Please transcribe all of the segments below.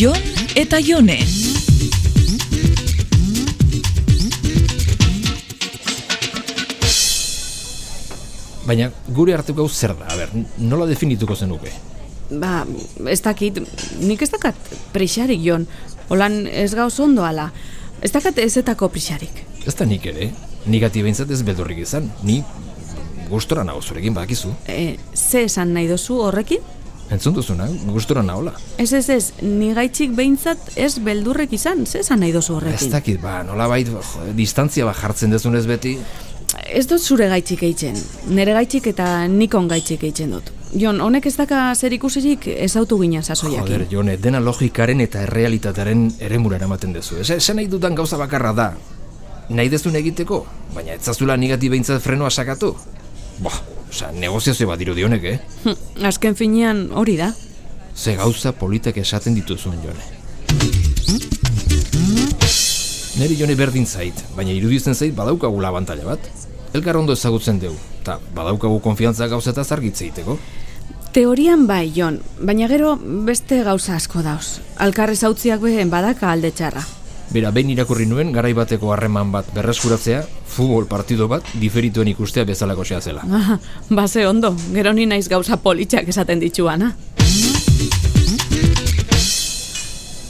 Jon eta Jone. Baina gure arteko hau zer da, a ber, nola definituko zenuke? Ba, ez dakit, nik ez dakat prixarik, Jon. Olan ez gauz ondo ala. Ez dakat ezetako prixarik. Ez da nik ere, nik ati behintzat ez beldurrik izan, ni gustora nago zurekin badakizu. E, ze esan nahi dozu horrekin? Entzun duzuna, gustora nahola. Ez ez ez, ni gaitxik behintzat ez beldurrek izan, ze esan nahi Ez dozu horrekin? dakit, ba, nola bait, distantzia bat jartzen dezunez beti. Ez dut zure gaitxik eitzen, nire gaitxik eta nikon gaitxik eitzen dut. Jon, honek ez daka zer ikusirik ezautu ginen Joder, sasoiakin. Jone, dena logikaren eta errealitatearen eremura eramaten dezu. Ez, esan nahi dudan gauza bakarra da. Nahi dezun egiteko, baina ez zazula nigati behintzat frenoa sakatu. Bah, oza, negoziazio bat dirudi honek, eh? Hm, Azken finean hori da. Ze gauza politak esaten dituzun, Jone. Neri Jone berdin zait, baina iruditzen zait badaukagu labantaila bat. Elkar ondo ezagutzen dugu, eta badaukagu konfiantza gauzeta zargitze egiteko. Teorian bai, Jon, baina gero beste gauza asko dauz. Alkar ezautziak behen badaka alde txarra. Bera, behin irakurri nuen garaibateko harreman bat berreskuratzea, futbol partido bat diferituen ikustea bezalako xea zela. Ah, Base ondo, gero ni naiz gauza politxak esaten dituana.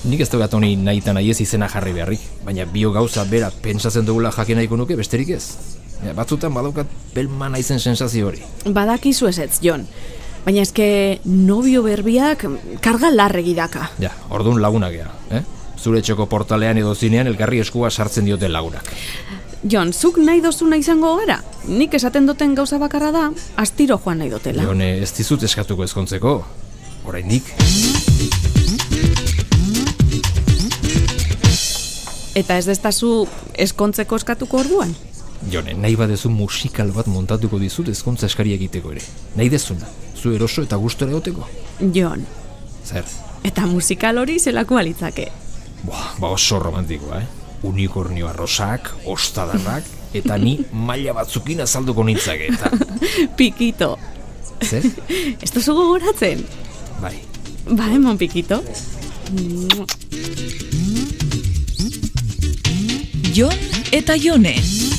Nik ez daukat honi nahi eta nahi ez izena jarri beharrik, baina bio gauza bera pentsatzen dugula jakin nahiko nuke besterik ez. Ja, batzutan badaukat pelma naizen sensazio hori. Badakizu ezetz, Jon. Baina eske novio berbiak karga larregi daka. Ja, orduan lagunak gea, eh? Zure txoko portalean edo zinean elkarri eskua sartzen dioten lagunak. Jon, zuk nahi dozuna izango gara? Nik esaten duten gauza bakarra da, astiro joan nahi dotela. Leone, ez dizut eskatuko ezkontzeko, oraindik. Eta ez destazu eskontzeko eskatuko orduan? Jone, nahi badezu musikal bat montatuko dizut ezkontza eskari egiteko ere. Nahi dezuna, zu eroso eta gustora egoteko. Jon, Zer? eta musikal hori zelako alitzake. Boa, ba oso romantikoa, eh? Unikornioa rosak, ostadarrak, eta ni maila batzukin azalduko nintzake, eta... Pikito. Zer? Ez duzu gogoratzen? Bai. Ba, emon pikito. Jon eta Jone.